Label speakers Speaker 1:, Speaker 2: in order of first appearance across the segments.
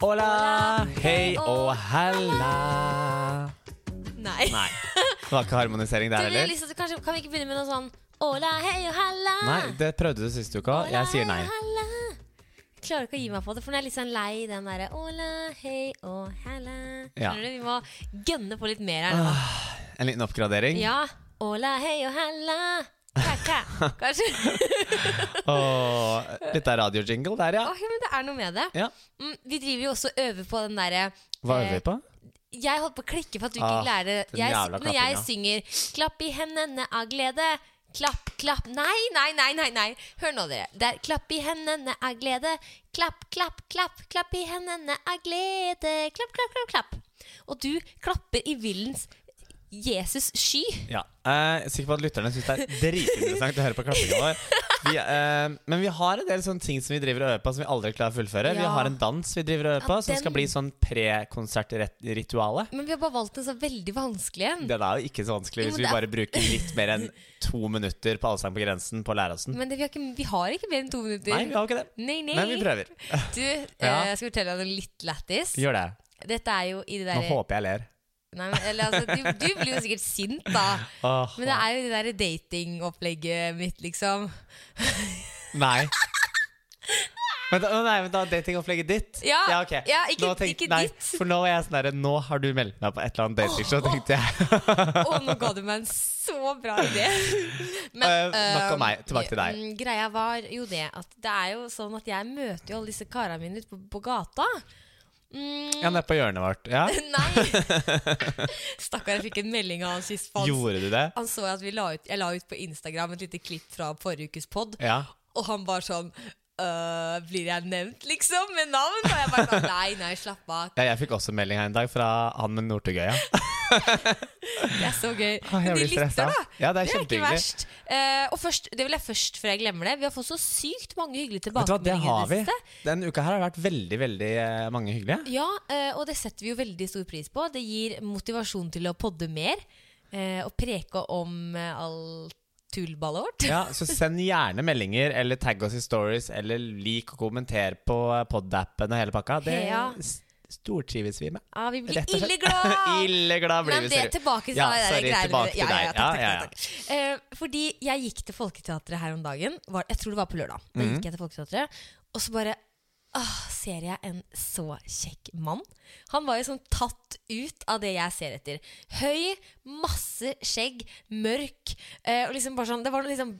Speaker 1: Hola, hei og
Speaker 2: og
Speaker 1: hella.
Speaker 2: Nei.
Speaker 1: Nei, det var ikke harmonisering
Speaker 2: Du, liksom-
Speaker 1: der
Speaker 2: vi har
Speaker 1: heller.
Speaker 2: lyst til, at- kanskje, kan vi ikke begynne med noe sånn Ola, hei og halla?
Speaker 1: Nei, det prøvde du sist uka.
Speaker 2: Ola,
Speaker 1: Jeg sier nei.
Speaker 2: hei og halla. Jeg klarer ikke å gi meg på det, for nå er jeg litt sånn lei den derre Ola, hei og halla.
Speaker 1: Ja. Ah.
Speaker 2: Skjønner du? Vi må gønne på litt mer her nå.
Speaker 1: En liten oppgradering.
Speaker 2: Ja. Ola, hei og halla. Kæ-kæ. Kanskje.
Speaker 1: Og litt av radiojingle der, ja.
Speaker 2: Åh, ja, men det er noe med det.
Speaker 1: ja.
Speaker 2: Mm, vi driver jo også og øver på den derre
Speaker 1: Hva øver vi på?
Speaker 2: Jeg holdt på å klikke for at du
Speaker 1: Ah,
Speaker 2: ikke lærer
Speaker 1: den
Speaker 2: jeg,
Speaker 1: jævla
Speaker 2: Når jeg
Speaker 1: klappinga.
Speaker 2: synger 'Klapp i hendene av glede', klapp, klapp Nei, nei, nei, nei! nei Hør nå, dere. Det er 'klapp i hendene av glede'. Klapp, klapp, klapp, klapp i hendene av glede. Klapp, klapp, klapp, klapp. Og du klapper i villens Jesus sky.
Speaker 1: Ja. Jeg er sikker på at lytterne syns det er dritinteressant å høre på klappinga vår. Vi, eh, men vi har en del sånne ting som vi driver og øver på som vi aldri klarer å fullføre. Vi
Speaker 2: Ja.
Speaker 1: har en dans vi driver og øver
Speaker 2: Ja,
Speaker 1: på, som skal
Speaker 2: den-
Speaker 1: bli sånn prekonsertritualet.
Speaker 2: Men vi har bare valgt en så veldig vanskelig en.
Speaker 1: Den er jo ikke så vanskelig
Speaker 2: Mm.
Speaker 1: hvis
Speaker 2: Jo, men
Speaker 1: vi
Speaker 2: det er-
Speaker 1: bare bruker litt mer enn to minutter på Allsang på grensen på Lærersen.
Speaker 2: Men det, vi, har ikke, vi har ikke mer enn to minutter.
Speaker 1: Nei, vi har ikke det.
Speaker 2: Nei, nei.
Speaker 1: Men vi prøver.
Speaker 2: Du, eh,
Speaker 1: Ja.
Speaker 2: jeg skal fortelle deg noe litt lættis.
Speaker 1: Gjør det.
Speaker 2: Dette er jo i det
Speaker 1: Nå
Speaker 2: derre
Speaker 1: håper jeg ler.
Speaker 2: Nei, men, eller, altså, du, du blir jo sikkert sint, da.
Speaker 1: Åh,
Speaker 2: Men det er jo det derre datingopplegget mitt, liksom.
Speaker 1: Nei. Men da, å nei, men da datingopplegget ditt?
Speaker 2: Ja,
Speaker 1: ok.
Speaker 2: ja, ikke-
Speaker 1: Nå tenkte-
Speaker 2: ikke
Speaker 1: nei,
Speaker 2: ditt.
Speaker 1: For nå var jeg sånn der, Nå har du meldt deg på et eller annet datingshow, tenkte jeg.
Speaker 2: Å, nå ga du meg en så bra idé!
Speaker 1: Eh, nok om meg. Tilbake til deg.
Speaker 2: mm, Greia var jo det at det er jo sånn at jeg møter jo alle disse karene mine ute på, på gata. Mm,
Speaker 1: Ja, nede på hjørnet vårt. Ja.
Speaker 2: nei! Stakkar, jeg fikk en melding av han sist. for Han,
Speaker 1: Gjorde du det?
Speaker 2: han så at vi la ut, jeg la ut på Instagram et lite klipp fra forrige ukes pod.
Speaker 1: Ja.
Speaker 2: Og han bare sånn «Øh, Blir jeg nevnt, liksom, med navn? Og jeg bare sånn Nei, nei, slapp av.
Speaker 1: ja jeg fikk også melding her en dag fra han med Northugøya.
Speaker 2: Det er så gøy.
Speaker 1: Åh, jeg
Speaker 2: Men de
Speaker 1: blir
Speaker 2: lytter,
Speaker 1: stressa.
Speaker 2: da.
Speaker 1: Ja, det er
Speaker 2: ikke
Speaker 1: kjempehyggelig.
Speaker 2: verst. Eh, og først, det vil jeg først, før jeg glemmer det, vi har fått så sykt mange hyggelige
Speaker 1: Vet du hva, det
Speaker 2: tilbakemeldinger.
Speaker 1: har vi.
Speaker 2: i det siste.
Speaker 1: Denne uka her har det vært veldig, veldig eh, mange hyggelige.
Speaker 2: Ja, eh, og det setter vi jo veldig stor pris på. Det gir motivasjon til å podde mer. eh, og preke om eh, all tullballet vårt.
Speaker 1: Ja, så send gjerne meldinger eller tagg oss i stories eller lik og kommenter på eh, podappen og hele pakka. Det
Speaker 2: Ja.
Speaker 1: s- stortrives vi med.
Speaker 2: Ah, vi blir
Speaker 1: Rett og slett.
Speaker 2: illeglade!
Speaker 1: Illeglad blir
Speaker 2: Ah, Men
Speaker 1: vi,
Speaker 2: det
Speaker 1: ser du.
Speaker 2: tilbake til
Speaker 1: Ja,
Speaker 2: det der
Speaker 1: sorry,
Speaker 2: greiene
Speaker 1: tilbake
Speaker 2: med-
Speaker 1: til
Speaker 2: ja, ja,
Speaker 1: deg.
Speaker 2: ja, takk,
Speaker 1: Ja,
Speaker 2: takk,
Speaker 1: ja,
Speaker 2: takk, takk. Eh, fordi jeg gikk til Folketeatret her om dagen. Var, jeg tror det var på lørdag. Da
Speaker 1: Mhm.
Speaker 2: gikk jeg til Folketeatret, og så bare Åh, ser jeg en så kjekk mann? Han var jo sånn tatt ut av det jeg ser etter. Høy, masse skjegg, mørk. Eh, og liksom bare sånn, Det var noe liksom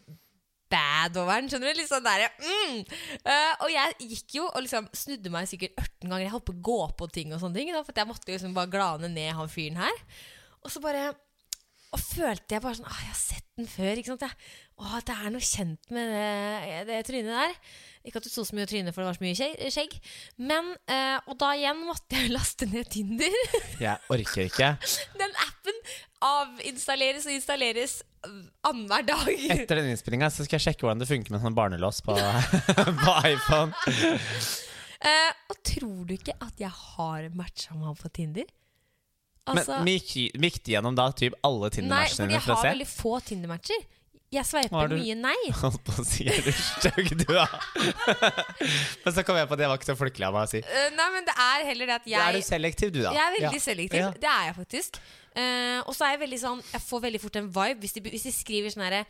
Speaker 2: bad over den, skjønner du? Litt sånn der, mm. Eh, Og jeg gikk jo og liksom snudde meg sikkert 18 ganger. Jeg holdt på å gå på ting og sånne ting. Da, for at jeg måtte liksom bare glane ned han fyren her. Og så bare og følte jeg bare sånn ah, Jeg har sett den før. ikke sant? Jeg, å, det er noe kjent med det, det trynet der. Ikke at du så så mye tryne, for det var så mye skje- skjegg. Men, eh, Og da igjen måtte jeg laste ned Tinder.
Speaker 1: Jeg orker ikke.
Speaker 2: Den appen avinstalleres og installeres annenhver dag.
Speaker 1: Etter den innspillinga skal jeg sjekke hvordan det funker med sånn barnelås på, på iPhone.
Speaker 2: Eh, og tror du ikke at jeg har matcha med han på Tinder? Altså,
Speaker 1: Men vi gikk- vi gikk gjennom da typ alle
Speaker 2: nei,
Speaker 1: Tinder-matchene
Speaker 2: fordi jeg
Speaker 1: dine for å
Speaker 2: har
Speaker 1: se.
Speaker 2: veldig få Tinder-matcher. Jeg sveiper
Speaker 1: Har du-
Speaker 2: mye nei.
Speaker 1: Holdt på å si er du stygg, du, da? Men så kom jeg på at jeg var ikke så folkelig av meg å si.
Speaker 2: Eh, nei, men det er heller det at
Speaker 1: Da er
Speaker 2: jeg
Speaker 1: du selektiv, du, da.
Speaker 2: Jeg er veldig
Speaker 1: Ja.
Speaker 2: selektiv.
Speaker 1: Ja.
Speaker 2: Det er jeg faktisk. Eh, og så er jeg veldig sånn Jeg får veldig fort en vibe hvis de, hvis de skriver sånn herre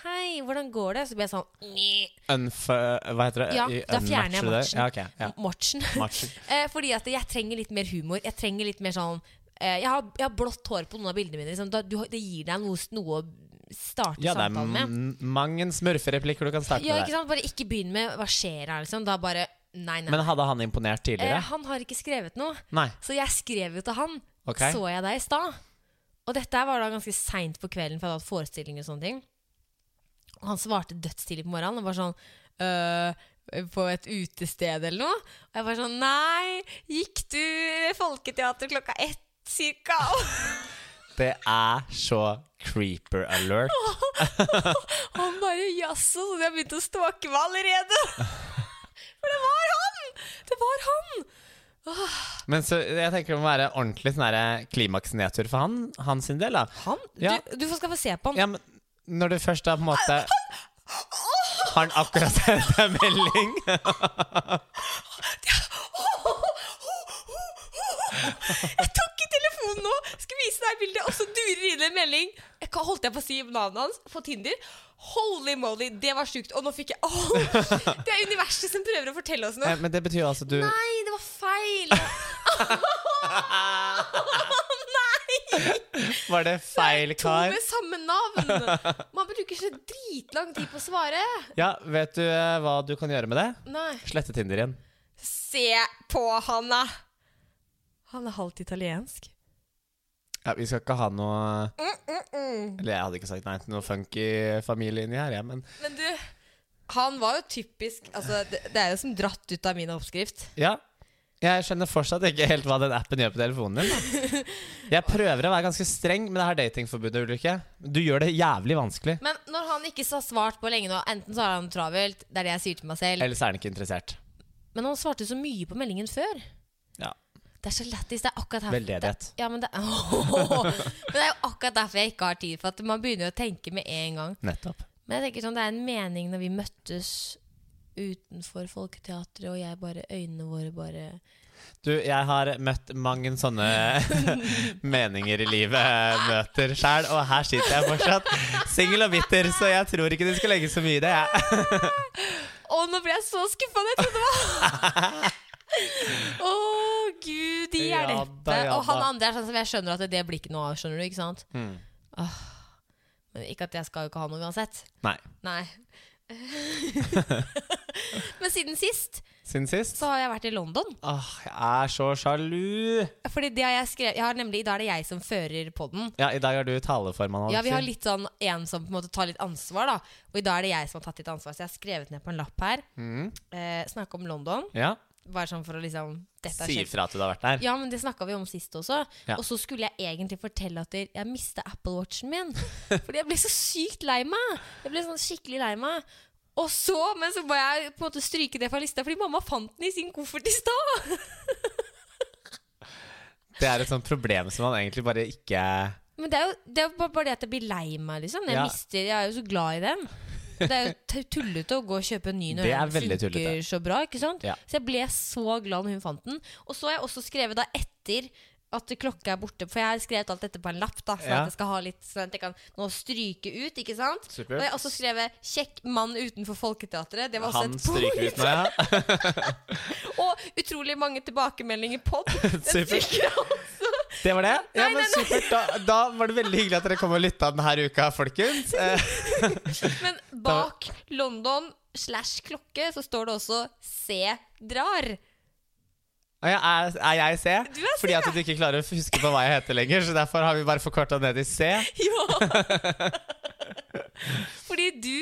Speaker 2: Hei, hvordan går det? Så blir jeg sånn «Nye».
Speaker 1: Unfø... eh, Hva heter det?
Speaker 2: Ja, da fjerner jeg
Speaker 1: Unmatcher det?
Speaker 2: matchen.
Speaker 1: Ja, ok, ja.
Speaker 2: Mortsen.
Speaker 1: Matchen.
Speaker 2: Eh, fordi at jeg trenger litt mer humor. Jeg trenger litt mer sånn eh, jeg, har, jeg har blått hår på noen av bildene mine. Liksom. Da, du, har- det gir deg noe, noe å starte
Speaker 1: ja, det er
Speaker 2: samtalen med.
Speaker 1: m- mange smurfereplikker du kan starte
Speaker 2: Ja,
Speaker 1: med.
Speaker 2: ikke
Speaker 1: der.
Speaker 2: sant? Bare ikke begynn med 'hva skjer her', liksom. Da bare Nei, nei.
Speaker 1: Men hadde han imponert
Speaker 2: eh,
Speaker 1: tidligere?
Speaker 2: han har ikke skrevet noe.
Speaker 1: Nei.
Speaker 2: Så jeg skrev jo til han.
Speaker 1: Ok.
Speaker 2: Så jeg deg i stad. Og dette her var da ganske seint på kvelden, for jeg hadde hatt forestilling og sånne ting. Og han svarte dødstidlig på morgenen og var sånn øh, På et utested eller noe. Og jeg var sånn Nei, gikk du Folketeater klokka ett? Cirka.
Speaker 1: Det er så creeper alert.
Speaker 2: Og han bare jaså, så de har begynt å stalke meg allerede! For det var han! Det var han!
Speaker 1: Men så jeg tenker det må være ordentlig sånn her klimaks-nedtur for han, han sin del, da.
Speaker 2: Han?
Speaker 1: Ja.
Speaker 2: Du, du får skal få se på han.
Speaker 1: Ja, men når du først da på en måte Har han akkurat sendt deg melding?
Speaker 2: Jeg tok i telefonen nå, skal vise deg bildet, og så durer inn en melding. Jeg kan- holdt jeg på å si navnet hans på Tinder. Holy moly, det var sjukt. Og nå fikk jeg Åh, Det er universet som prøver å fortelle oss noe.
Speaker 1: Eh, Men det betyr jo altså at du
Speaker 2: Nei, det var feil! Åh, nei!
Speaker 1: Var det feil,
Speaker 2: To
Speaker 1: kar?
Speaker 2: med samme navn! Man bruker så dritlang tid på å svare.
Speaker 1: Ja, vet du eh, hva du kan gjøre med det?
Speaker 2: Nei.
Speaker 1: Slette Tinder igjen.
Speaker 2: Se på han, da! Han er halvt italiensk.
Speaker 1: Ja, vi skal ikke ha noe
Speaker 2: Mm, mm, mm.
Speaker 1: Eller jeg hadde ikke sagt nei til noe funky familie inni her, jeg, men
Speaker 2: Men du, han var jo typisk altså, det, det er jo som dratt ut av min oppskrift.
Speaker 1: Ja. Jeg skjønner fortsatt ikke helt hva den appen gjør på telefonen din. Da. Jeg prøver å være ganske streng med det her datingforbudet, Ulrikke. Du gjør det jævlig vanskelig.
Speaker 2: Men når han ikke har svart på lenge nå, enten så har han travelt, det er det jeg sier til meg selv,
Speaker 1: Ellers er han ikke interessert.
Speaker 2: men han svarte jo så mye på meldingen før.
Speaker 1: Ja.
Speaker 2: Det er så lættis. Det er akkurat her
Speaker 1: Veldedighet.
Speaker 2: Ja, men, det, men det er jo akkurat derfor jeg ikke har tid, for at man begynner jo å tenke med en gang.
Speaker 1: Nettopp.
Speaker 2: Men jeg tenker sånn, det er en mening når vi møttes utenfor Folketeatret, og jeg bare, øynene våre bare
Speaker 1: Du, jeg har møtt mange sånne meninger i livet-møter sjæl, og her sitter jeg fortsatt singel og bitter, så jeg tror ikke det skal legge så mye i det. Jeg.
Speaker 2: Å, nå ble jeg så skuffa! Jeg trodde det var Å, gud i
Speaker 1: Ja da,
Speaker 2: hjelpe.
Speaker 1: ja
Speaker 2: Og han
Speaker 1: da.
Speaker 2: andre er sånn som jeg skjønner at det blir ikke noe av, skjønner du? ikke sant?
Speaker 1: Hmm.
Speaker 2: Åh, men ikke at jeg skal jo ikke ha noe uansett.
Speaker 1: Nei.
Speaker 2: Nei. men siden sist
Speaker 1: Siden sist.
Speaker 2: så har jeg vært i London.
Speaker 1: Åh, jeg er så sjalu.
Speaker 2: Fordi det har jeg skrevet Jeg har nemlig, I dag er det jeg som fører podden.
Speaker 1: Ja, i dag er du taleformann.
Speaker 2: Ja, vi har
Speaker 1: Alexi.
Speaker 2: litt sånn en som på en måte tar litt ansvar, da. Og i dag er det jeg som har tatt litt ansvar, så jeg har skrevet ned på en lapp her.
Speaker 1: Mm.
Speaker 2: Eh, snakke om London.
Speaker 1: Ja.
Speaker 2: Bare sånn for å liksom Dette har
Speaker 1: Si
Speaker 2: skjedd
Speaker 1: ifra at du har vært der.
Speaker 2: Ja, men det snakka vi om sist også.
Speaker 1: Ja.
Speaker 2: Og så skulle jeg egentlig fortelle at jeg- jeg mista Apple Watchen min. Fordi jeg ble så sykt lei meg. Jeg ble sånn skikkelig lei meg. Og så, men så må jeg på en måte stryke det fra lista, fordi mamma fant den i sin koffert i stad.
Speaker 1: Det er et sånt problem som man egentlig bare ikke
Speaker 2: Men det er jo, det er jo bare- bare det at jeg blir lei meg, liksom. Jeg,
Speaker 1: Ja.
Speaker 2: mister, jeg er jo så glad i den. Det er jo t- tullete å gå og kjøpe en ny når
Speaker 1: Det er
Speaker 2: den
Speaker 1: veldig
Speaker 2: funker
Speaker 1: tullete.
Speaker 2: så bra. ikke sant?
Speaker 1: Ja.
Speaker 2: Så jeg ble så glad når hun fant den. Og så har jeg også skrevet da etter at klokka er borte, for jeg har skrevet alt dette på en lapp. da, Sånn
Speaker 1: Ja.
Speaker 2: at jeg skal ha litt, sånn at jeg kan nå stryke ut, ikke sant?
Speaker 1: Supert.
Speaker 2: Og jeg har også skrevet 'kjekk mann utenfor Folketeatret'. Det var også
Speaker 1: Han
Speaker 2: et punkt.
Speaker 1: stryker ut nå, ja.
Speaker 2: Og utrolig mange tilbakemeldinger pod. Den
Speaker 1: Supert.
Speaker 2: stryker jeg også.
Speaker 1: Det var det? Ja,
Speaker 2: Nei,
Speaker 1: men
Speaker 2: nei, nei.
Speaker 1: supert. Da, da var det veldig hyggelig at dere kom og lytta denne uka, folkens. Eh,
Speaker 2: Men bak London slash klokke så står det også 'se drar'.
Speaker 1: og jeg er, er jeg C?
Speaker 2: Du er
Speaker 1: Fordi at du ikke klarer å huske på hva jeg heter lenger, så derfor har vi bare forkorta ned i C.
Speaker 2: Ja! Fordi du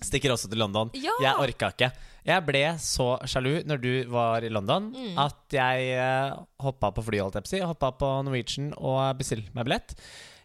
Speaker 1: Stikker også til London.
Speaker 2: Ja.
Speaker 1: Jeg orka ikke. Jeg ble så sjalu når du var i London,
Speaker 2: Mm.
Speaker 1: at jeg eh, hoppa på flyet, holdt jeg på å si. Hoppa på Norwegian og bestilte meg billett.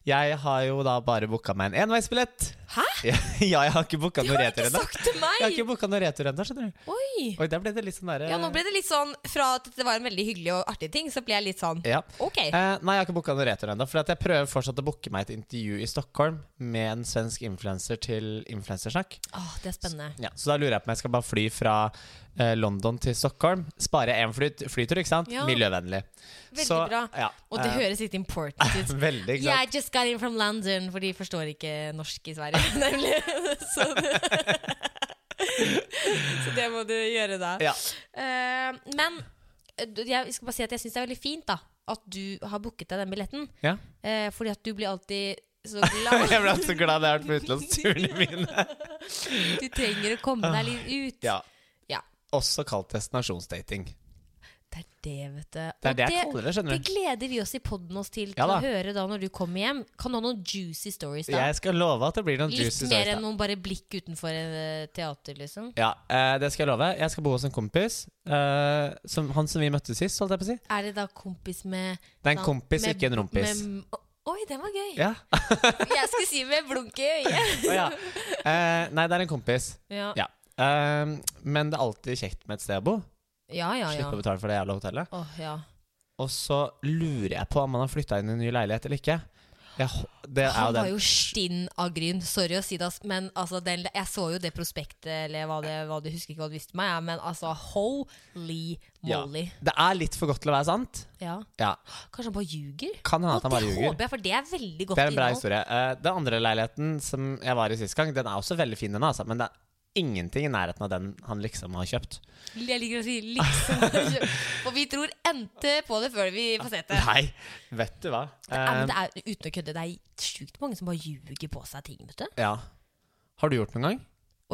Speaker 1: Jeg har jo da bare booka meg en enveisbillett.
Speaker 2: Hæ?
Speaker 1: Ja, jeg har ikke booka
Speaker 2: Du
Speaker 1: noe
Speaker 2: har ikke
Speaker 1: retur ennå.
Speaker 2: sagt til
Speaker 1: Jeg har
Speaker 2: meg!
Speaker 1: ikke booka noe retur ennå, skjønner du.
Speaker 2: Oi!
Speaker 1: Oi, der ble det litt sånn derre
Speaker 2: Ja, nå ble det litt sånn Fra at det var en veldig hyggelig og artig ting, så ble jeg litt sånn
Speaker 1: Ja.
Speaker 2: Ok.
Speaker 1: Eh, nei, jeg har ikke booka noen retur ennå. For at jeg prøver fortsatt å booke meg et intervju i Stockholm med en svensk influenser til influensersnakk.
Speaker 2: Åh, det er spennende.
Speaker 1: Ja, så da lurer jeg på om jeg skal bare fly fra eh, London til Stockholm. Spare én fly, flytur, ikke sant?
Speaker 2: Ja.
Speaker 1: Miljøvennlig.
Speaker 2: Veldig
Speaker 1: Så,
Speaker 2: bra.
Speaker 1: Ja,
Speaker 2: Og det
Speaker 1: eh,
Speaker 2: høres litt important ut.
Speaker 1: Veldig, ikke
Speaker 2: Yeah, I
Speaker 1: sant?
Speaker 2: just got in from London, for de forstår ikke norsk i Sverige, nemlig. Så, så det må du gjøre da.
Speaker 1: Ja.
Speaker 2: Eh, men eh, du- jeg skal bare si at jeg syns det er veldig fint da at du har booket deg den billetten.
Speaker 1: Ja.
Speaker 2: eh, fordi at du blir alltid så glad.
Speaker 1: Jeg ble så glad jeg har vært på utenlandsturene mine.
Speaker 2: Du trenger å komme deg litt ut.
Speaker 1: Ja.
Speaker 2: Ja.
Speaker 1: Også kalt destinasjonsdating.
Speaker 2: Det er det, vet du.
Speaker 1: Det
Speaker 2: Og
Speaker 1: er det jeg kaller det, skjønner
Speaker 2: det
Speaker 1: du.
Speaker 2: gleder vi oss i podden oss til, til
Speaker 1: Ja
Speaker 2: å
Speaker 1: da.
Speaker 2: høre da når du kommer hjem. Kan du ha noen juicy stories da?
Speaker 1: Jeg skal love at det blir noen
Speaker 2: Litt
Speaker 1: juicy
Speaker 2: mer
Speaker 1: stories. da.
Speaker 2: enn noen bare blikk utenfor eh, teater, liksom.
Speaker 1: Ja, eh, det skal jeg love. Jeg skal bo hos en kompis. eh, som, han som vi møtte sist, holdt jeg på å si.
Speaker 2: Er det da kompis med
Speaker 1: Det er en kompis,
Speaker 2: med-
Speaker 1: ikke en rumpis.
Speaker 2: med- Oi, den var gøy!
Speaker 1: Ja.
Speaker 2: Jeg skulle si med blunk i øyet.
Speaker 1: Å ja. Eh, nei, det er en kompis.
Speaker 2: Ja,
Speaker 1: Ja. Eh, men det er alltid kjekt med et sted å bo.
Speaker 2: ja, ja. ja.
Speaker 1: Slippe å betale for det jævla hotellet.
Speaker 2: Åh, ja.
Speaker 1: Og så lurer jeg på om han har flytta inn i en ny leilighet eller ikke. Jeg hå- det er jo
Speaker 2: Han var
Speaker 1: den.
Speaker 2: jo stinn av gryn. Sorry å si det, ass, men altså, den, jeg så jo det prospektet, eller hva det var, du husker ikke hva du visste meg, ja, men altså, holy moly.
Speaker 1: Det er litt for godt til å være sant.
Speaker 2: Ja.
Speaker 1: Ja,
Speaker 2: Kanskje han bare ljuger?
Speaker 1: Kan hende at han
Speaker 2: Og
Speaker 1: bare
Speaker 2: det
Speaker 1: ljuger.
Speaker 2: håper jeg, for det er veldig godt
Speaker 1: Det er en bra
Speaker 2: innhold.
Speaker 1: historie. Eh, Den andre leiligheten som jeg var i sist gang, den er også veldig fin, den, altså. Men det er ingenting i nærheten av den han liksom har kjøpt.
Speaker 2: Jeg liker å si liksom. For vi tror endte på det før vi får sett det.
Speaker 1: Nei, vet du hva.
Speaker 2: Ja,
Speaker 1: Eh,
Speaker 2: men det er, uten å kødde, det er sjukt mange som bare ljuger på seg ting, vet du.
Speaker 1: Ja. Har du gjort noen gang?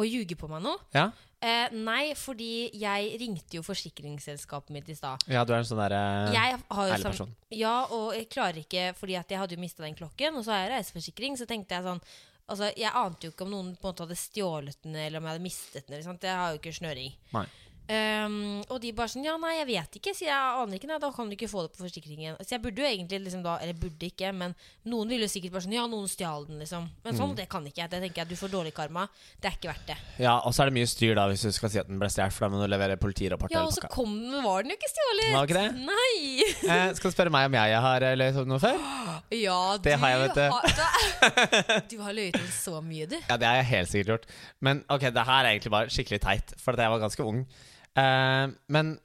Speaker 2: Og ljuger på meg nå.
Speaker 1: Ja,
Speaker 2: Eh, nei, fordi jeg ringte jo forsikringsselskapet mitt i stad.
Speaker 1: ja du er en sånn derre
Speaker 2: Jeg har jo
Speaker 1: ærlig
Speaker 2: sam-
Speaker 1: person.
Speaker 2: Ja, og jeg klarer ikke, fordi at jeg hadde jo mista den klokken, og så har jeg reiseforsikring, så tenkte jeg sånn Altså, Jeg ante jo ikke om noen på en måte hadde stjålet den, eller om jeg hadde mistet den. eller sant? Jeg har jo ikke snøring.
Speaker 1: Nei.
Speaker 2: Ehm, og de bare sånn Ja, nei, jeg vet ikke. Så jeg aner ikke, nei, da kan du ikke få det på forsikringen. Så jeg burde jo egentlig liksom da Eller burde ikke, men noen ville jo sikkert bare sånn Ja, noen stjal den, liksom. Men
Speaker 1: Mm.
Speaker 2: sånn, det kan ikke jeg. Det tenker jeg, Du får dårlig karma. Det er ikke verdt det.
Speaker 1: Ja, og så er det mye styr da hvis du skal si at den ble stjålet, for da må du levere politirapport.
Speaker 2: Ja,
Speaker 1: hele
Speaker 2: og så
Speaker 1: pakka.
Speaker 2: kom den, var den jo ikke stjålet.
Speaker 1: Var ikke det?
Speaker 2: Nei!
Speaker 1: Eh, skal du spørre meg om jeg har eh, løyet om noe før?
Speaker 2: Ja,
Speaker 1: Det har jeg, vet du.
Speaker 2: har- du har løyet om så mye, du.
Speaker 1: Ja, det har jeg helt sikkert gjort. Men ok, det her er egentlig bare skikkelig teit, for at jeg var ganske ung. Eh, men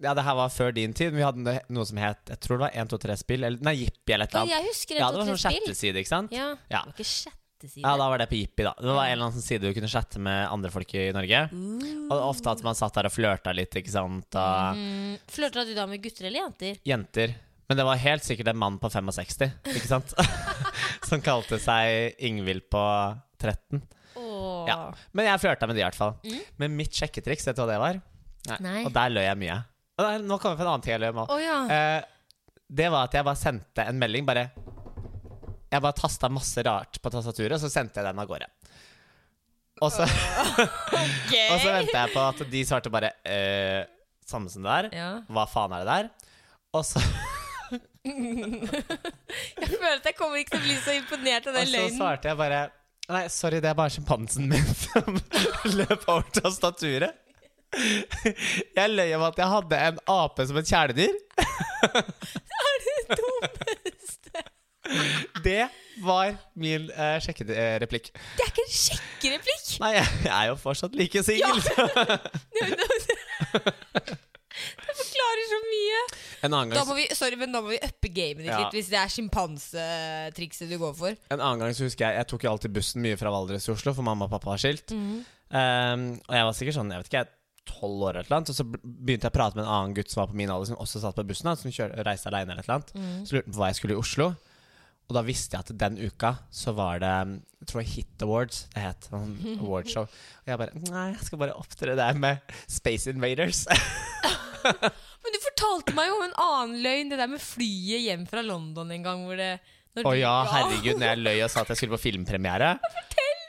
Speaker 1: ja, det her var før din tid. men Vi hadde noe som het Jeg tror det var 123-spill. Eller nei, Jippi eller et
Speaker 2: Ja,
Speaker 1: eller annet.
Speaker 2: jeg husker
Speaker 1: Ja, det
Speaker 2: en, to,
Speaker 1: var
Speaker 2: tre
Speaker 1: sånn
Speaker 2: spill.
Speaker 1: chatteside, ikke sant?
Speaker 2: Ja, det
Speaker 1: Ja.
Speaker 2: var ikke chatteside.
Speaker 1: Ja, da var det på Jippi, da. Det var en eller annen sånn side du kunne chatte med andre folk i Norge. Og ofte at man satt der og flørta litt, ikke sant. Og
Speaker 2: Mm, Flørta du da med gutter eller jenter?
Speaker 1: jenter. Men det var helt sikkert en mann på 65, ikke sant? som kalte seg Ingvild på 13.
Speaker 2: Åh.
Speaker 1: Ja. Men jeg flørta med de i hvert fall.
Speaker 2: Mm.
Speaker 1: Men mitt sjekketriks, vet du hva det var? Nei.
Speaker 2: Nei.
Speaker 1: Og der løy jeg mye. Og der, nå kommer jeg på en annen ting jeg løy om også.
Speaker 2: Å ja.
Speaker 1: Eh, det var at jeg bare sendte en melding, bare Jeg bare tasta masse rart på tastaturet, og så sendte jeg den av gårde. Og så, Eh, og så venta jeg på at de svarte bare eh, Samme som det der.
Speaker 2: ja.
Speaker 1: Hva faen er det der? Og så,
Speaker 2: Jeg føler at jeg kommer ikke til å bli så imponert av
Speaker 1: og
Speaker 2: den
Speaker 1: så
Speaker 2: løgnen.
Speaker 1: svarte jeg bare Nei, sorry, det er bare sjimpansen min som løp over tastaturet. Jeg løy om at jeg hadde en ape som et kjæledyr.
Speaker 2: Er det dummeste?
Speaker 1: Det var min eh, sjekkereplikk.
Speaker 2: Det er ikke en sjekkereplikk!
Speaker 1: Nei, jeg er jo fortsatt like singel.
Speaker 2: Det forklarer så mye.
Speaker 1: En annen
Speaker 2: Da
Speaker 1: gang,
Speaker 2: må vi, sorry, men da må vi uppe gamet ditt
Speaker 1: Ja.
Speaker 2: litt, hvis det er sjimpansetrikset du går for.
Speaker 1: en annen gang så husker jeg Jeg tok jo alltid bussen mye fra Valdres til Oslo, for mamma og pappa var skilt.
Speaker 2: Mm.
Speaker 1: Um, og jeg var sikkert sånn, jeg vet ikke, jeg tolv år eller et eller annet. Og så be- begynte jeg å prate med en annen gutt som var på min alder, som også satt på bussen. da, Som kjør, reiste alene eller et eller annet.
Speaker 2: Mm.
Speaker 1: Så lurte han på hva jeg skulle i Oslo. Og da visste jeg at den uka så var det um, jeg tror jeg Hit Awards det het. Sånn awardshow. Og jeg bare Nei, jeg skal bare opptre der med Space Invaders.
Speaker 2: Men du fortalte meg jo om en annen løgn, det der med flyet hjem fra London en gang. Hvor det, når
Speaker 1: Å
Speaker 2: du-
Speaker 1: ja, herregud, når jeg løy og sa at jeg skulle på filmpremiere. Fortell!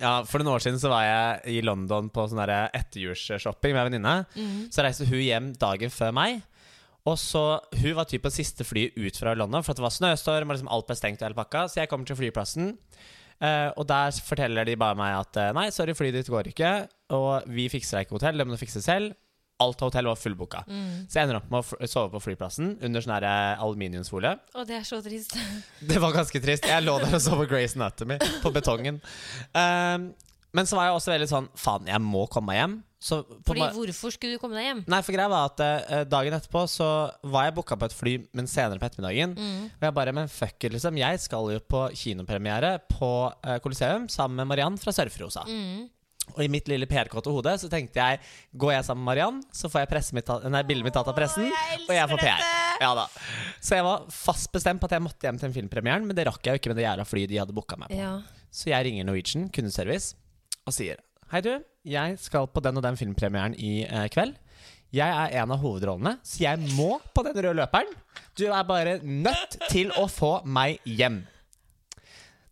Speaker 1: Ja, For noen år siden så var jeg i London på sånn derre etterjulsshopping med en venninne. Så reiste hun hjem dagen før meg. Og så, Hun var typ på siste fly ut fra London, for at det var snøstorm. og liksom alt ble stengt og hele pakka Så jeg kommer til flyplassen, eh, og der forteller de bare meg at eh, nei, sorry, flyet ditt går ikke. Og vi fikser deg ikke hotell, det må du fikse selv. Alt av hotell var fullbooka.
Speaker 2: Mm.
Speaker 1: Så jeg ender opp med å f- sove på flyplassen under sånn her, eh, aluminiumsfolie.
Speaker 2: Å, det er så trist.
Speaker 1: Det var ganske trist. Jeg lå der og så på Grace Anatomy på betongen. Um, men så var jeg også veldig sånn Faen, jeg må komme meg hjem. Så på
Speaker 2: Fordi
Speaker 1: ma-
Speaker 2: hvorfor skulle du komme deg hjem?
Speaker 1: Nei, for greia var at eh, dagen etterpå så var jeg booka på et fly, men senere på ettermiddagen. Og jeg bare Men fuck it, liksom. Jeg skal jo på kinopremiere på eh, Coliseum sammen med Mariann fra Surferosa.
Speaker 2: Mm.
Speaker 1: Og i mitt lille PR-kåte hode så tenkte jeg Går jeg sammen med Mariann, så får jeg presse mitt, ta- nei, bildet mitt tatt av pressen,
Speaker 2: jeg
Speaker 1: og jeg
Speaker 2: elsker
Speaker 1: får PR.
Speaker 2: dette!
Speaker 1: Ja, da. Så jeg var fast bestemt på at jeg måtte hjem til den filmpremieren, men det rakk jeg jo ikke med det jævla flyet de hadde booka meg på.
Speaker 2: Ja.
Speaker 1: Så jeg ringer Norwegian kundeservice og sier Hei du, jeg skal på den og den filmpremieren i eh, kveld. Jeg er en av hovedrollene, så jeg må på den røde løperen. Du er bare nødt til å få meg hjem.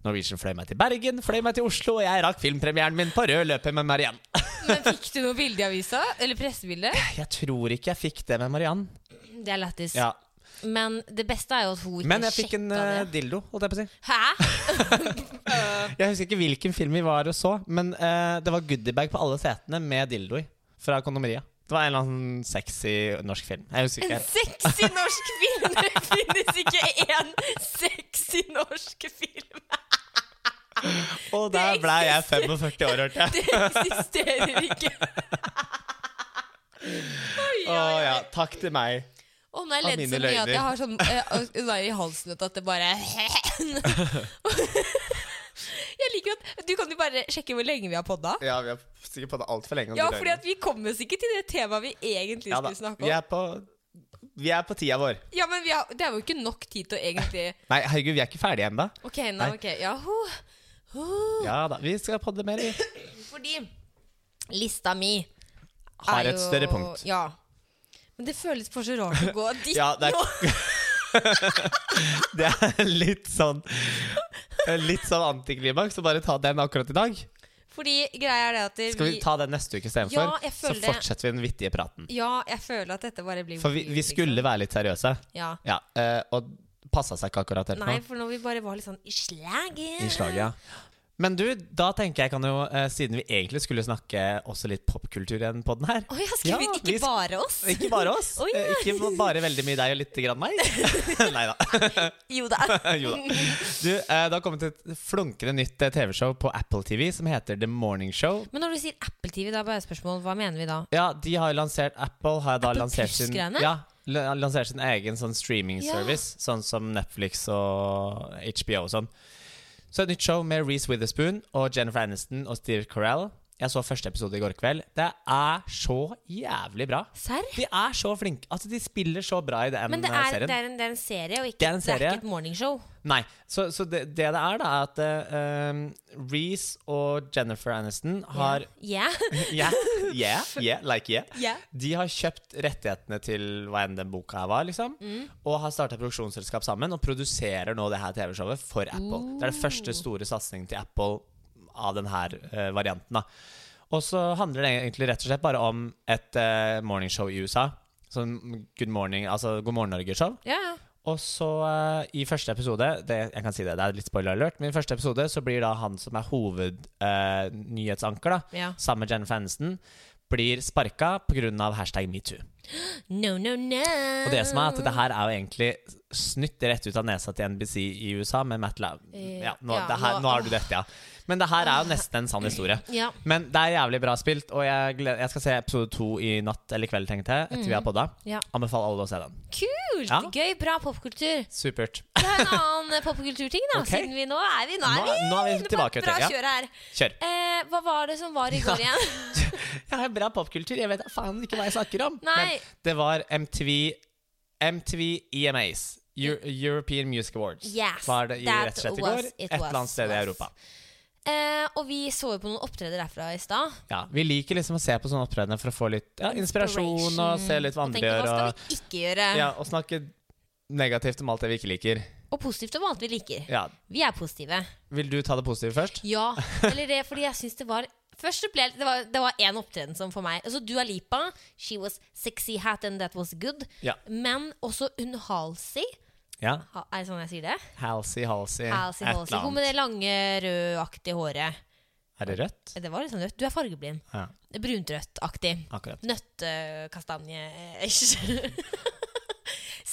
Speaker 1: Norwegian fløy meg til Bergen, fløy meg til Oslo, og jeg rakk filmpremieren min på rød løper med Mariann.
Speaker 2: Men fikk du noe bilde i avisa? Eller pressebilde?
Speaker 1: Jeg tror ikke jeg fikk det med Mariann.
Speaker 2: Det er lættis.
Speaker 1: Ja.
Speaker 2: Men det beste er jo at hun ikke
Speaker 1: Men jeg fikk en
Speaker 2: sjekka
Speaker 1: eh,
Speaker 2: det.
Speaker 1: dildo, holdt jeg på å si.
Speaker 2: Hæ?
Speaker 1: Jeg husker ikke hvilken film vi var og så, men eh, det var goodiebag på alle setene med dildo i. Fra kondomeriet. Det var en eller annen sexy norsk film. Jeg husker
Speaker 2: En
Speaker 1: ikke.
Speaker 2: sexy norsk film! Det finnes ikke én sexy norsk film!
Speaker 1: Og der ble jeg 45 år, hørte jeg.
Speaker 2: Det eksisterer ikke. Oi,
Speaker 1: Å
Speaker 2: oi,
Speaker 1: ja.
Speaker 2: oi.
Speaker 1: Takk til meg.
Speaker 2: Å, nå har jeg
Speaker 1: Av
Speaker 2: ledd
Speaker 1: mine
Speaker 2: så mye at
Speaker 1: løgner.
Speaker 2: jeg har sånn eh, nei i halsen vet du, at det bare Jeg liker at Du kan jo bare sjekke hvor lenge vi har podda.
Speaker 1: Ja, vi har sikkert på det altfor lenge. om
Speaker 2: Ja,
Speaker 1: du
Speaker 2: fordi
Speaker 1: hører.
Speaker 2: at vi kommer oss ikke til det temaet vi egentlig
Speaker 1: ja,
Speaker 2: skulle
Speaker 1: da.
Speaker 2: snakke
Speaker 1: Vi
Speaker 2: om.
Speaker 1: er på Vi er på tida vår.
Speaker 2: Ja, men vi har, Det er jo ikke nok tid til å egentlig
Speaker 1: Nei, herregud, vi er ikke ferdige ennå.
Speaker 2: Ok, nå,
Speaker 1: Nei.
Speaker 2: ok, ja ho. Ho.
Speaker 1: Ja da, vi skal podde mer. vi.
Speaker 2: Fordi lista mi er
Speaker 1: Har et
Speaker 2: jo-
Speaker 1: større punkt.
Speaker 2: Ja. Men det føles for så rart å gå dit
Speaker 1: Ja, det er-
Speaker 2: nå.
Speaker 1: Det er litt sånn Litt sånn antiklimaks å bare ta den akkurat i dag.
Speaker 2: Fordi greia er det at
Speaker 1: Skal vi ta den neste uke istedenfor?
Speaker 2: Ja, jeg
Speaker 1: så
Speaker 2: føler det.
Speaker 1: fortsetter vi den vittige praten.
Speaker 2: Ja, jeg føler at dette bare blir
Speaker 1: For vi,
Speaker 2: weird,
Speaker 1: vi skulle være litt seriøse,
Speaker 2: liksom. Ja.
Speaker 1: ja, eh, og passa seg ikke akkurat helt nå.
Speaker 2: Nei, for når vi bare var litt sånn i slaget
Speaker 1: I slaget, ja. Men du, da tenker jeg kan jo, eh, siden vi egentlig skulle snakke også litt popkultur i den podden her
Speaker 2: Å ja, skal vi
Speaker 1: Ja,
Speaker 2: ikke
Speaker 1: vi sk-
Speaker 2: bare oss?
Speaker 1: Ikke bare oss.
Speaker 2: Å, ja.
Speaker 1: eh, Ikke bare veldig mye deg og lite grann meg. Nei da.
Speaker 2: Jo da.
Speaker 1: jo da. Du, eh, det har kommet et flunkende nytt eh, TV-show på Apple TV som heter The Morning Show.
Speaker 2: Men når du sier Apple TV, da er bare spørsmål, hva mener vi da?
Speaker 1: Ja, de har jo lansert Apple har da
Speaker 2: Apple
Speaker 1: lansert sin,
Speaker 2: Plus-greiene?
Speaker 1: ja, la- lansert sin egen sånn streaming
Speaker 2: Ja.
Speaker 1: service, sånn som Netflix og HBO og sånn. Så et nytt show med Reece Witherspoon og Jennifer Aniston og Steve Carell. Jeg så første episode i går kveld. Det er så jævlig bra.
Speaker 2: Serr?
Speaker 1: De er så flinke. Altså, de spiller så bra i den
Speaker 2: Men det
Speaker 1: eh,
Speaker 2: er,
Speaker 1: serien.
Speaker 2: det, er en, det er en serie, og ikke,
Speaker 1: Det er en serie.
Speaker 2: ikke et morningshow.
Speaker 1: Nei, så, så det, det det er, da, er at eh, um, Reece og Jennifer Aniston har
Speaker 2: Ja.
Speaker 1: Yeah, yeah, yeah, like yeah.
Speaker 2: Ja.
Speaker 1: De har kjøpt rettighetene til hva enn den boka her var, liksom. Og har starta produksjonsselskap sammen og produserer nå det her TV-showet for Apple. Det er det første store satsingen til Apple av denne varianten. da. Og så handler det egentlig rett og slett bare om et eh, morningshow i USA. Sånn Good Morning, altså God morgen Norge-show.
Speaker 2: ja. ja.
Speaker 1: Og så eh, i første episode det, Jeg kan si det, det er litt spoiler alert Men i første episode så blir da han som er hovednyhetsanker da
Speaker 2: Ja.
Speaker 1: Sammen med Jennifer Aniston Blir sparka på grunn av hashtag MeToo
Speaker 2: No, no, no.
Speaker 1: Og det som er at det her er jo egentlig Snytt rett ut av nesa til NBC i USA Med Matt Lau ja, nå,
Speaker 2: Eh, Ja,
Speaker 1: det her,
Speaker 2: nå-
Speaker 1: nå har du dette, ja Men det her er jo nesten en sann historie
Speaker 2: Ja.
Speaker 1: Men det er jævlig bra spilt Og jeg, gleder, jeg skal se episode 2 i natt eller kveld tenkte jeg Etter vi har podda
Speaker 2: Ja.
Speaker 1: Anbefaler alle å se den
Speaker 2: Kult!
Speaker 1: Ja.
Speaker 2: Gøy, bra popkultur.
Speaker 1: Supert
Speaker 2: Det er en annen eh, popkulturting, da.
Speaker 1: Ok.
Speaker 2: Siden vi nå er vi, nå er
Speaker 1: Nå-
Speaker 2: vi,
Speaker 1: nå er vi
Speaker 2: inne på et
Speaker 1: tilbake til-
Speaker 2: bra
Speaker 1: ja.
Speaker 2: kjør her.
Speaker 1: Kjør
Speaker 2: Eh, hva var det som var i går igjen?
Speaker 1: Jeg har bra popkultur. Jeg vet da faen ikke hva jeg snakker om.
Speaker 2: Nei.
Speaker 1: Men det var MTV MTV EMAs. E Eu- European Music Awards.
Speaker 2: Yes,
Speaker 1: var det i
Speaker 2: that
Speaker 1: rett og slett i
Speaker 2: was-
Speaker 1: går.
Speaker 2: it
Speaker 1: Et eller
Speaker 2: was-
Speaker 1: annet sted i
Speaker 2: was.
Speaker 1: Europa.
Speaker 2: Eh, og vi så jo på noen opptreder derfra i stad.
Speaker 1: Ja, vi liker liksom å se på sånne opptredener for å få litt ja, inspirasjon og se litt hva
Speaker 2: Og
Speaker 1: andre
Speaker 2: tenkte,
Speaker 1: gjør.
Speaker 2: hva skal
Speaker 1: Og,
Speaker 2: vi ikke gjøre?
Speaker 1: ja, og snakke negativt om alt det vi ikke liker.
Speaker 2: Og positivt om alt vi liker.
Speaker 1: Ja.
Speaker 2: Vi er positive.
Speaker 1: Vil du ta det positive først?
Speaker 2: Ja, eller det fordi jeg syns det var Først så ble jeg- det var- Det var én opptreden som for meg Altså Dua Lipa, she was sexy hat and that was good.
Speaker 1: Ja.
Speaker 2: Men også Unn Halsey.
Speaker 1: Ja.
Speaker 2: Ha- Er det sånn jeg sier det?
Speaker 1: Halsey, Halsey,
Speaker 2: Halsey,
Speaker 1: et
Speaker 2: Halsey.
Speaker 1: eller
Speaker 2: Hun med
Speaker 1: annet.
Speaker 2: det lange, rødaktige håret.
Speaker 1: Er det rødt?
Speaker 2: Det var litt sånn rødt. Du er fargeblind.
Speaker 1: Ja,
Speaker 2: Bruntrødt-aktig.
Speaker 1: akkurat.
Speaker 2: Nøttekastanje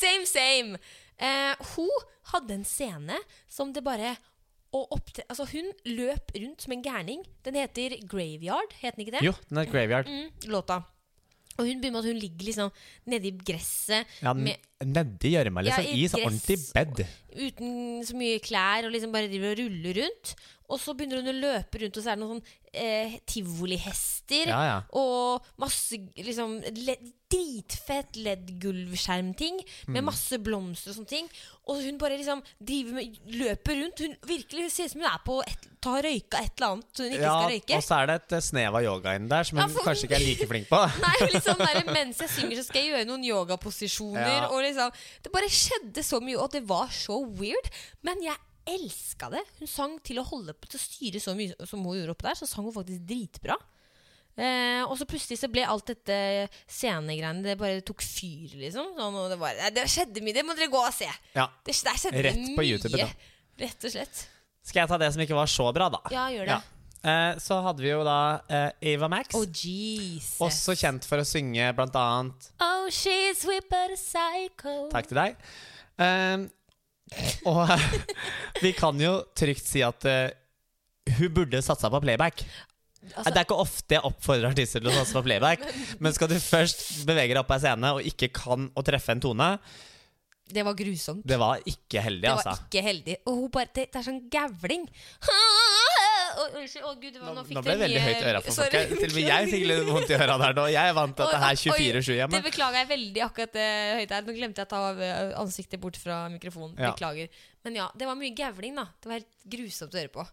Speaker 2: Same, same. Eh, hun hadde en scene som det bare å opptre... Altså, hun løp rundt som en gærning. Den heter Graveyard, het den ikke det?
Speaker 1: Jo, den er Graveyard.
Speaker 2: Mm, låta. Og hun begynner med at hun ligger liksom nedi gresset
Speaker 1: Ja, den-
Speaker 2: med,
Speaker 1: Nedi gjørma,
Speaker 2: Ja,
Speaker 1: liksom.
Speaker 2: i
Speaker 1: I sånn ordentlig
Speaker 2: dress
Speaker 1: bed.
Speaker 2: uten så mye klær og liksom bare driver og ruller rundt. Og så begynner hun å løpe rundt, og så er det noen sånn eh, tivolihester.
Speaker 1: Ja, ja.
Speaker 2: Og masse liksom, le dritfett LED-gulvskjermting med masse blomster og sånne ting. Og hun bare liksom driver med, løper rundt. Hun virkelig ser ut som hun er på et, tar røyka et eller annet hun ikke skal røyke.
Speaker 1: Og så er det et eh, snev av yoga inni der, som
Speaker 2: Ja,
Speaker 1: hun
Speaker 2: for-
Speaker 1: kanskje ikke er like flink på.
Speaker 2: Nei, liksom der, Mens jeg synger, så skal jeg gjøre noen yogaposisjoner.
Speaker 1: Ja.
Speaker 2: Og liksom, det bare skjedde så mye, og det var så weird. Men jeg elska det. Hun sang til å holde på til å styre så mye som hun gjorde oppe der. Så sang hun faktisk dritbra. Eh, og så plutselig så ble alt dette scenegreiene Det bare tok fyr, liksom. Sånn, og det, bare, nei, det skjedde mye. Det må dere gå og se.
Speaker 1: Ja.
Speaker 2: Det, der skjedde
Speaker 1: Rett på
Speaker 2: mye.
Speaker 1: YouTube, da.
Speaker 2: Rett og slett.
Speaker 1: Skal jeg ta det som ikke var så bra, da?
Speaker 2: Ja, gjør det.
Speaker 1: Eh, så hadde vi jo da eh, Ava Max,
Speaker 2: Oh, jeez.
Speaker 1: også kjent for å synge blant annet
Speaker 2: Oh, she's whipped but a psycho.
Speaker 1: Takk til deg. Eh, og vi kan jo trygt si at eh, hun burde satsa på playback. Eh,
Speaker 2: Altså,
Speaker 1: det er ikke ofte jeg oppfordrer artister til å satse på playback, men skal du først bevege deg opp på en scene og ikke kan å treffe en tone
Speaker 2: det var grusomt.
Speaker 1: Det var ikke heldig,
Speaker 2: Det
Speaker 1: altså.
Speaker 2: var ikke heldig. Og hun bare, det, det er sånn gavling. Å, Unnskyld. Å, gud, det var-
Speaker 1: Nå,
Speaker 2: nå fikk
Speaker 1: nå ble det veldig høyt i øra for folk.
Speaker 2: Sorry.
Speaker 1: her. Til og med jeg fikk litt vondt i øra der nå. Jeg er vant til at det her
Speaker 2: Oi, oi,
Speaker 1: er 24-7 hjemme.
Speaker 2: Det beklager jeg veldig akkurat det høyt her. Nå glemte jeg å ta av, eh, ansiktet bort fra mikrofonen.
Speaker 1: Ja.
Speaker 2: Beklager. Men ja, det var mye gavling, da. Det var helt grusomt å høre på.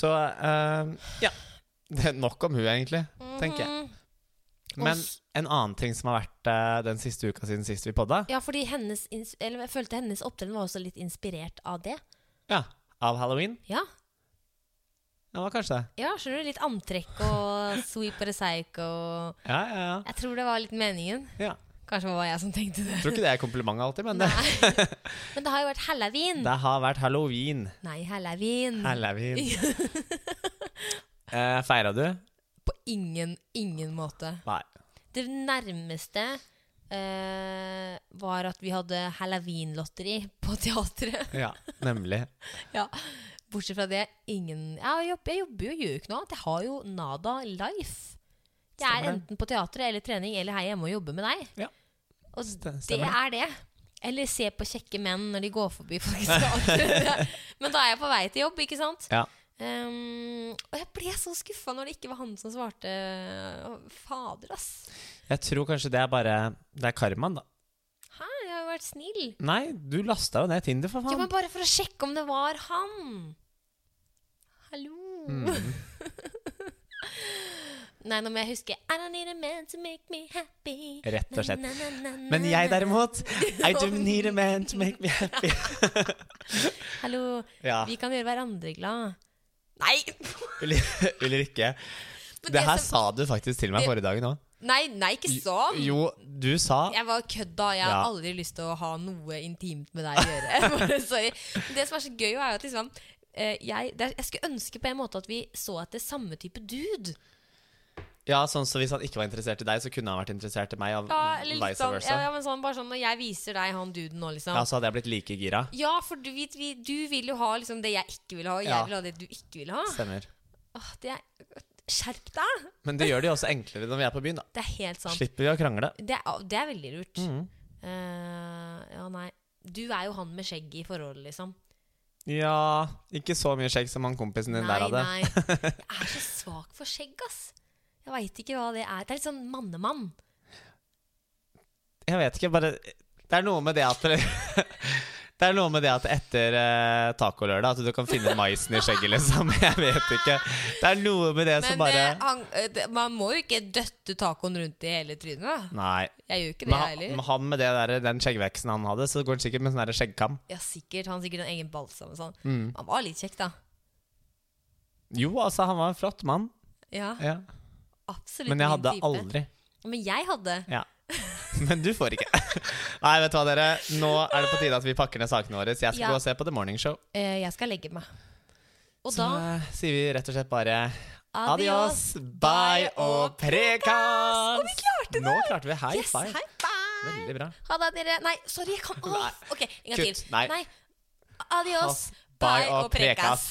Speaker 1: Så eh, ja. Det er nok om hun, egentlig, tenker jeg.
Speaker 2: Mhm.
Speaker 1: Men
Speaker 2: Oss-
Speaker 1: en annen ting som har vært eh, den siste uka siden sist vi podda,
Speaker 2: Ja, fordi hennes, ins- eller jeg følte hennes opptreden var også litt inspirert av det.
Speaker 1: ja, av halloween
Speaker 2: Ja,
Speaker 1: Ja, det var kanskje det.
Speaker 2: ja skjønner du? Litt antrekk og sweep or psycho. og-
Speaker 1: Ja, ja, ja.
Speaker 2: Jeg tror det var litt meningen.
Speaker 1: Ja.
Speaker 2: Kanskje det var jeg som tenkte det.
Speaker 1: Jeg tror ikke det er kompliment alltid, men det,
Speaker 2: Nei. Men det har jo vært halloween.
Speaker 1: det har vært halloween.
Speaker 2: Nei, halloween.
Speaker 1: Halloween. uh, Feira du?
Speaker 2: På ingen, ingen måte.
Speaker 1: Nei.
Speaker 2: Det nærmeste eh, var at vi hadde halloweenlotteri på teatret.
Speaker 1: Ja, nemlig.
Speaker 2: Bortsett fra det, ingen ja, jeg, jobber, jeg jobber jo, gjør jo ikke noe annet. Jeg har jo Nada Life. Jeg
Speaker 1: Stemmer
Speaker 2: er
Speaker 1: det.
Speaker 2: enten på teatret eller trening eller her hjemme og jobber med deg.
Speaker 1: Ja.
Speaker 2: Og
Speaker 1: Stem-
Speaker 2: det
Speaker 1: Stemmer det?
Speaker 2: er det. Eller se på kjekke menn når de går forbi folk i teatret. Men da er jeg på vei til jobb, ikke sant?
Speaker 1: Ja.
Speaker 2: Ehm, og jeg ble så skuffa når det ikke var han som svarte. Fader, ass.
Speaker 1: Jeg tror kanskje det er bare Det er karmaen, da.
Speaker 2: Hæ, jeg har jo vært snill.
Speaker 1: Nei, du lasta jo ned Tinder, for
Speaker 2: Ja,
Speaker 1: faen.
Speaker 2: men bare for å sjekke om det var han. Hallo.
Speaker 1: Mm.
Speaker 2: Nei, nå må jeg huske I don't need a man to make me happy.
Speaker 1: Rett og slett.
Speaker 2: Na, na, na, na,
Speaker 1: Men jeg
Speaker 2: na.
Speaker 1: derimot I do need a man to make me happy.
Speaker 2: Hallo,
Speaker 1: Ja,
Speaker 2: vi kan gjøre hverandre glad. Nei!
Speaker 1: Ul- Ulrikke.
Speaker 2: Men
Speaker 1: Det her
Speaker 2: som-
Speaker 1: sa du faktisk til meg
Speaker 2: Det-
Speaker 1: forrige dagen òg.
Speaker 2: Nei, nei, ikke sånn.
Speaker 1: Jo, du sa
Speaker 2: Jeg var kødda. Jeg har
Speaker 1: Ja.
Speaker 2: aldri lyst til å ha noe intimt med deg å gjøre. Bare Sorry. Men Det som er så gøy, er at liksom eh, jeg, det er, jeg skulle ønske på en måte at vi så etter samme type dude.
Speaker 1: Ja, sånn så hvis han ikke var interessert i deg, så kunne han vært interessert i meg, og
Speaker 2: Ja, eller litt
Speaker 1: vice
Speaker 2: sånn, ja,
Speaker 1: versa.
Speaker 2: ja, men sånn, bare sånn når jeg viser deg han duden nå, liksom.
Speaker 1: Ja, så hadde jeg blitt like gira.
Speaker 2: Ja, for du, vi, vi, du vil jo ha liksom det jeg ikke vil ha, og jeg
Speaker 1: Ja.
Speaker 2: vil ha det du ikke vil ha.
Speaker 1: Stemmer.
Speaker 2: Åh, det er, skjerp deg!
Speaker 1: Men det gjør det jo også enklere når vi er på byen, da.
Speaker 2: Det er helt sant.
Speaker 1: Slipper vi å krangle.
Speaker 2: Det er, det er veldig lurt.
Speaker 1: Mhm.
Speaker 2: Eh, ja, nei. Du er jo han med skjegg i forholdet, liksom.
Speaker 1: Ja, ikke så mye skjegg som han kompisen din
Speaker 2: nei,
Speaker 1: der hadde.
Speaker 2: nei. Jeg er så svak for skjegg, ass. Jeg veit ikke hva det er. Det er litt sånn mannemann.
Speaker 1: Jeg vet ikke, bare Det er noe med det at Det er noe med det at etter eh, tacolørdag at du kan finne maisen i skjegget, liksom. Jeg vet ikke. Det er noe med det som bare
Speaker 2: eh, man må jo ikke døtte tacoen rundt i hele trynet, da.
Speaker 1: Nei.
Speaker 2: Jeg gjør ah, ikke
Speaker 1: Men han, men han med det der, den skjeggveksten han hadde, så går han sikkert med sånn der skjeggkam.
Speaker 2: Ja, sikkert. Han har sikkert en egen balsam og sånn.
Speaker 1: Mm.
Speaker 2: Han var litt kjekk, da.
Speaker 1: Jo, altså, han var en flott mann.
Speaker 2: Ja,
Speaker 1: Ja.
Speaker 2: absolutt
Speaker 1: Men jeg
Speaker 2: min
Speaker 1: hadde
Speaker 2: type.
Speaker 1: aldri
Speaker 2: Men jeg hadde.
Speaker 1: Men du får ikke. Nei, vet du hva, dere. Nå er det på tide at vi pakker ned sakene våre. Så jeg skal
Speaker 2: Ja.
Speaker 1: gå og se på The Morning Show.
Speaker 2: Eh, jeg skal legge meg. Og
Speaker 1: så
Speaker 2: da
Speaker 1: eh, sier vi rett og slett bare
Speaker 2: Adios.
Speaker 1: Adios, bye og prekas! Og vi klarte det! Nå klarte vi high
Speaker 2: Yes,
Speaker 1: five.
Speaker 2: high five!
Speaker 1: Veldig bra.
Speaker 2: Ha det, dere. Nei, sorry, jeg kan Åh, OK, en gang til.
Speaker 1: Kutt. Nei.
Speaker 2: Adios.
Speaker 1: Oss,
Speaker 2: Bye og prekas.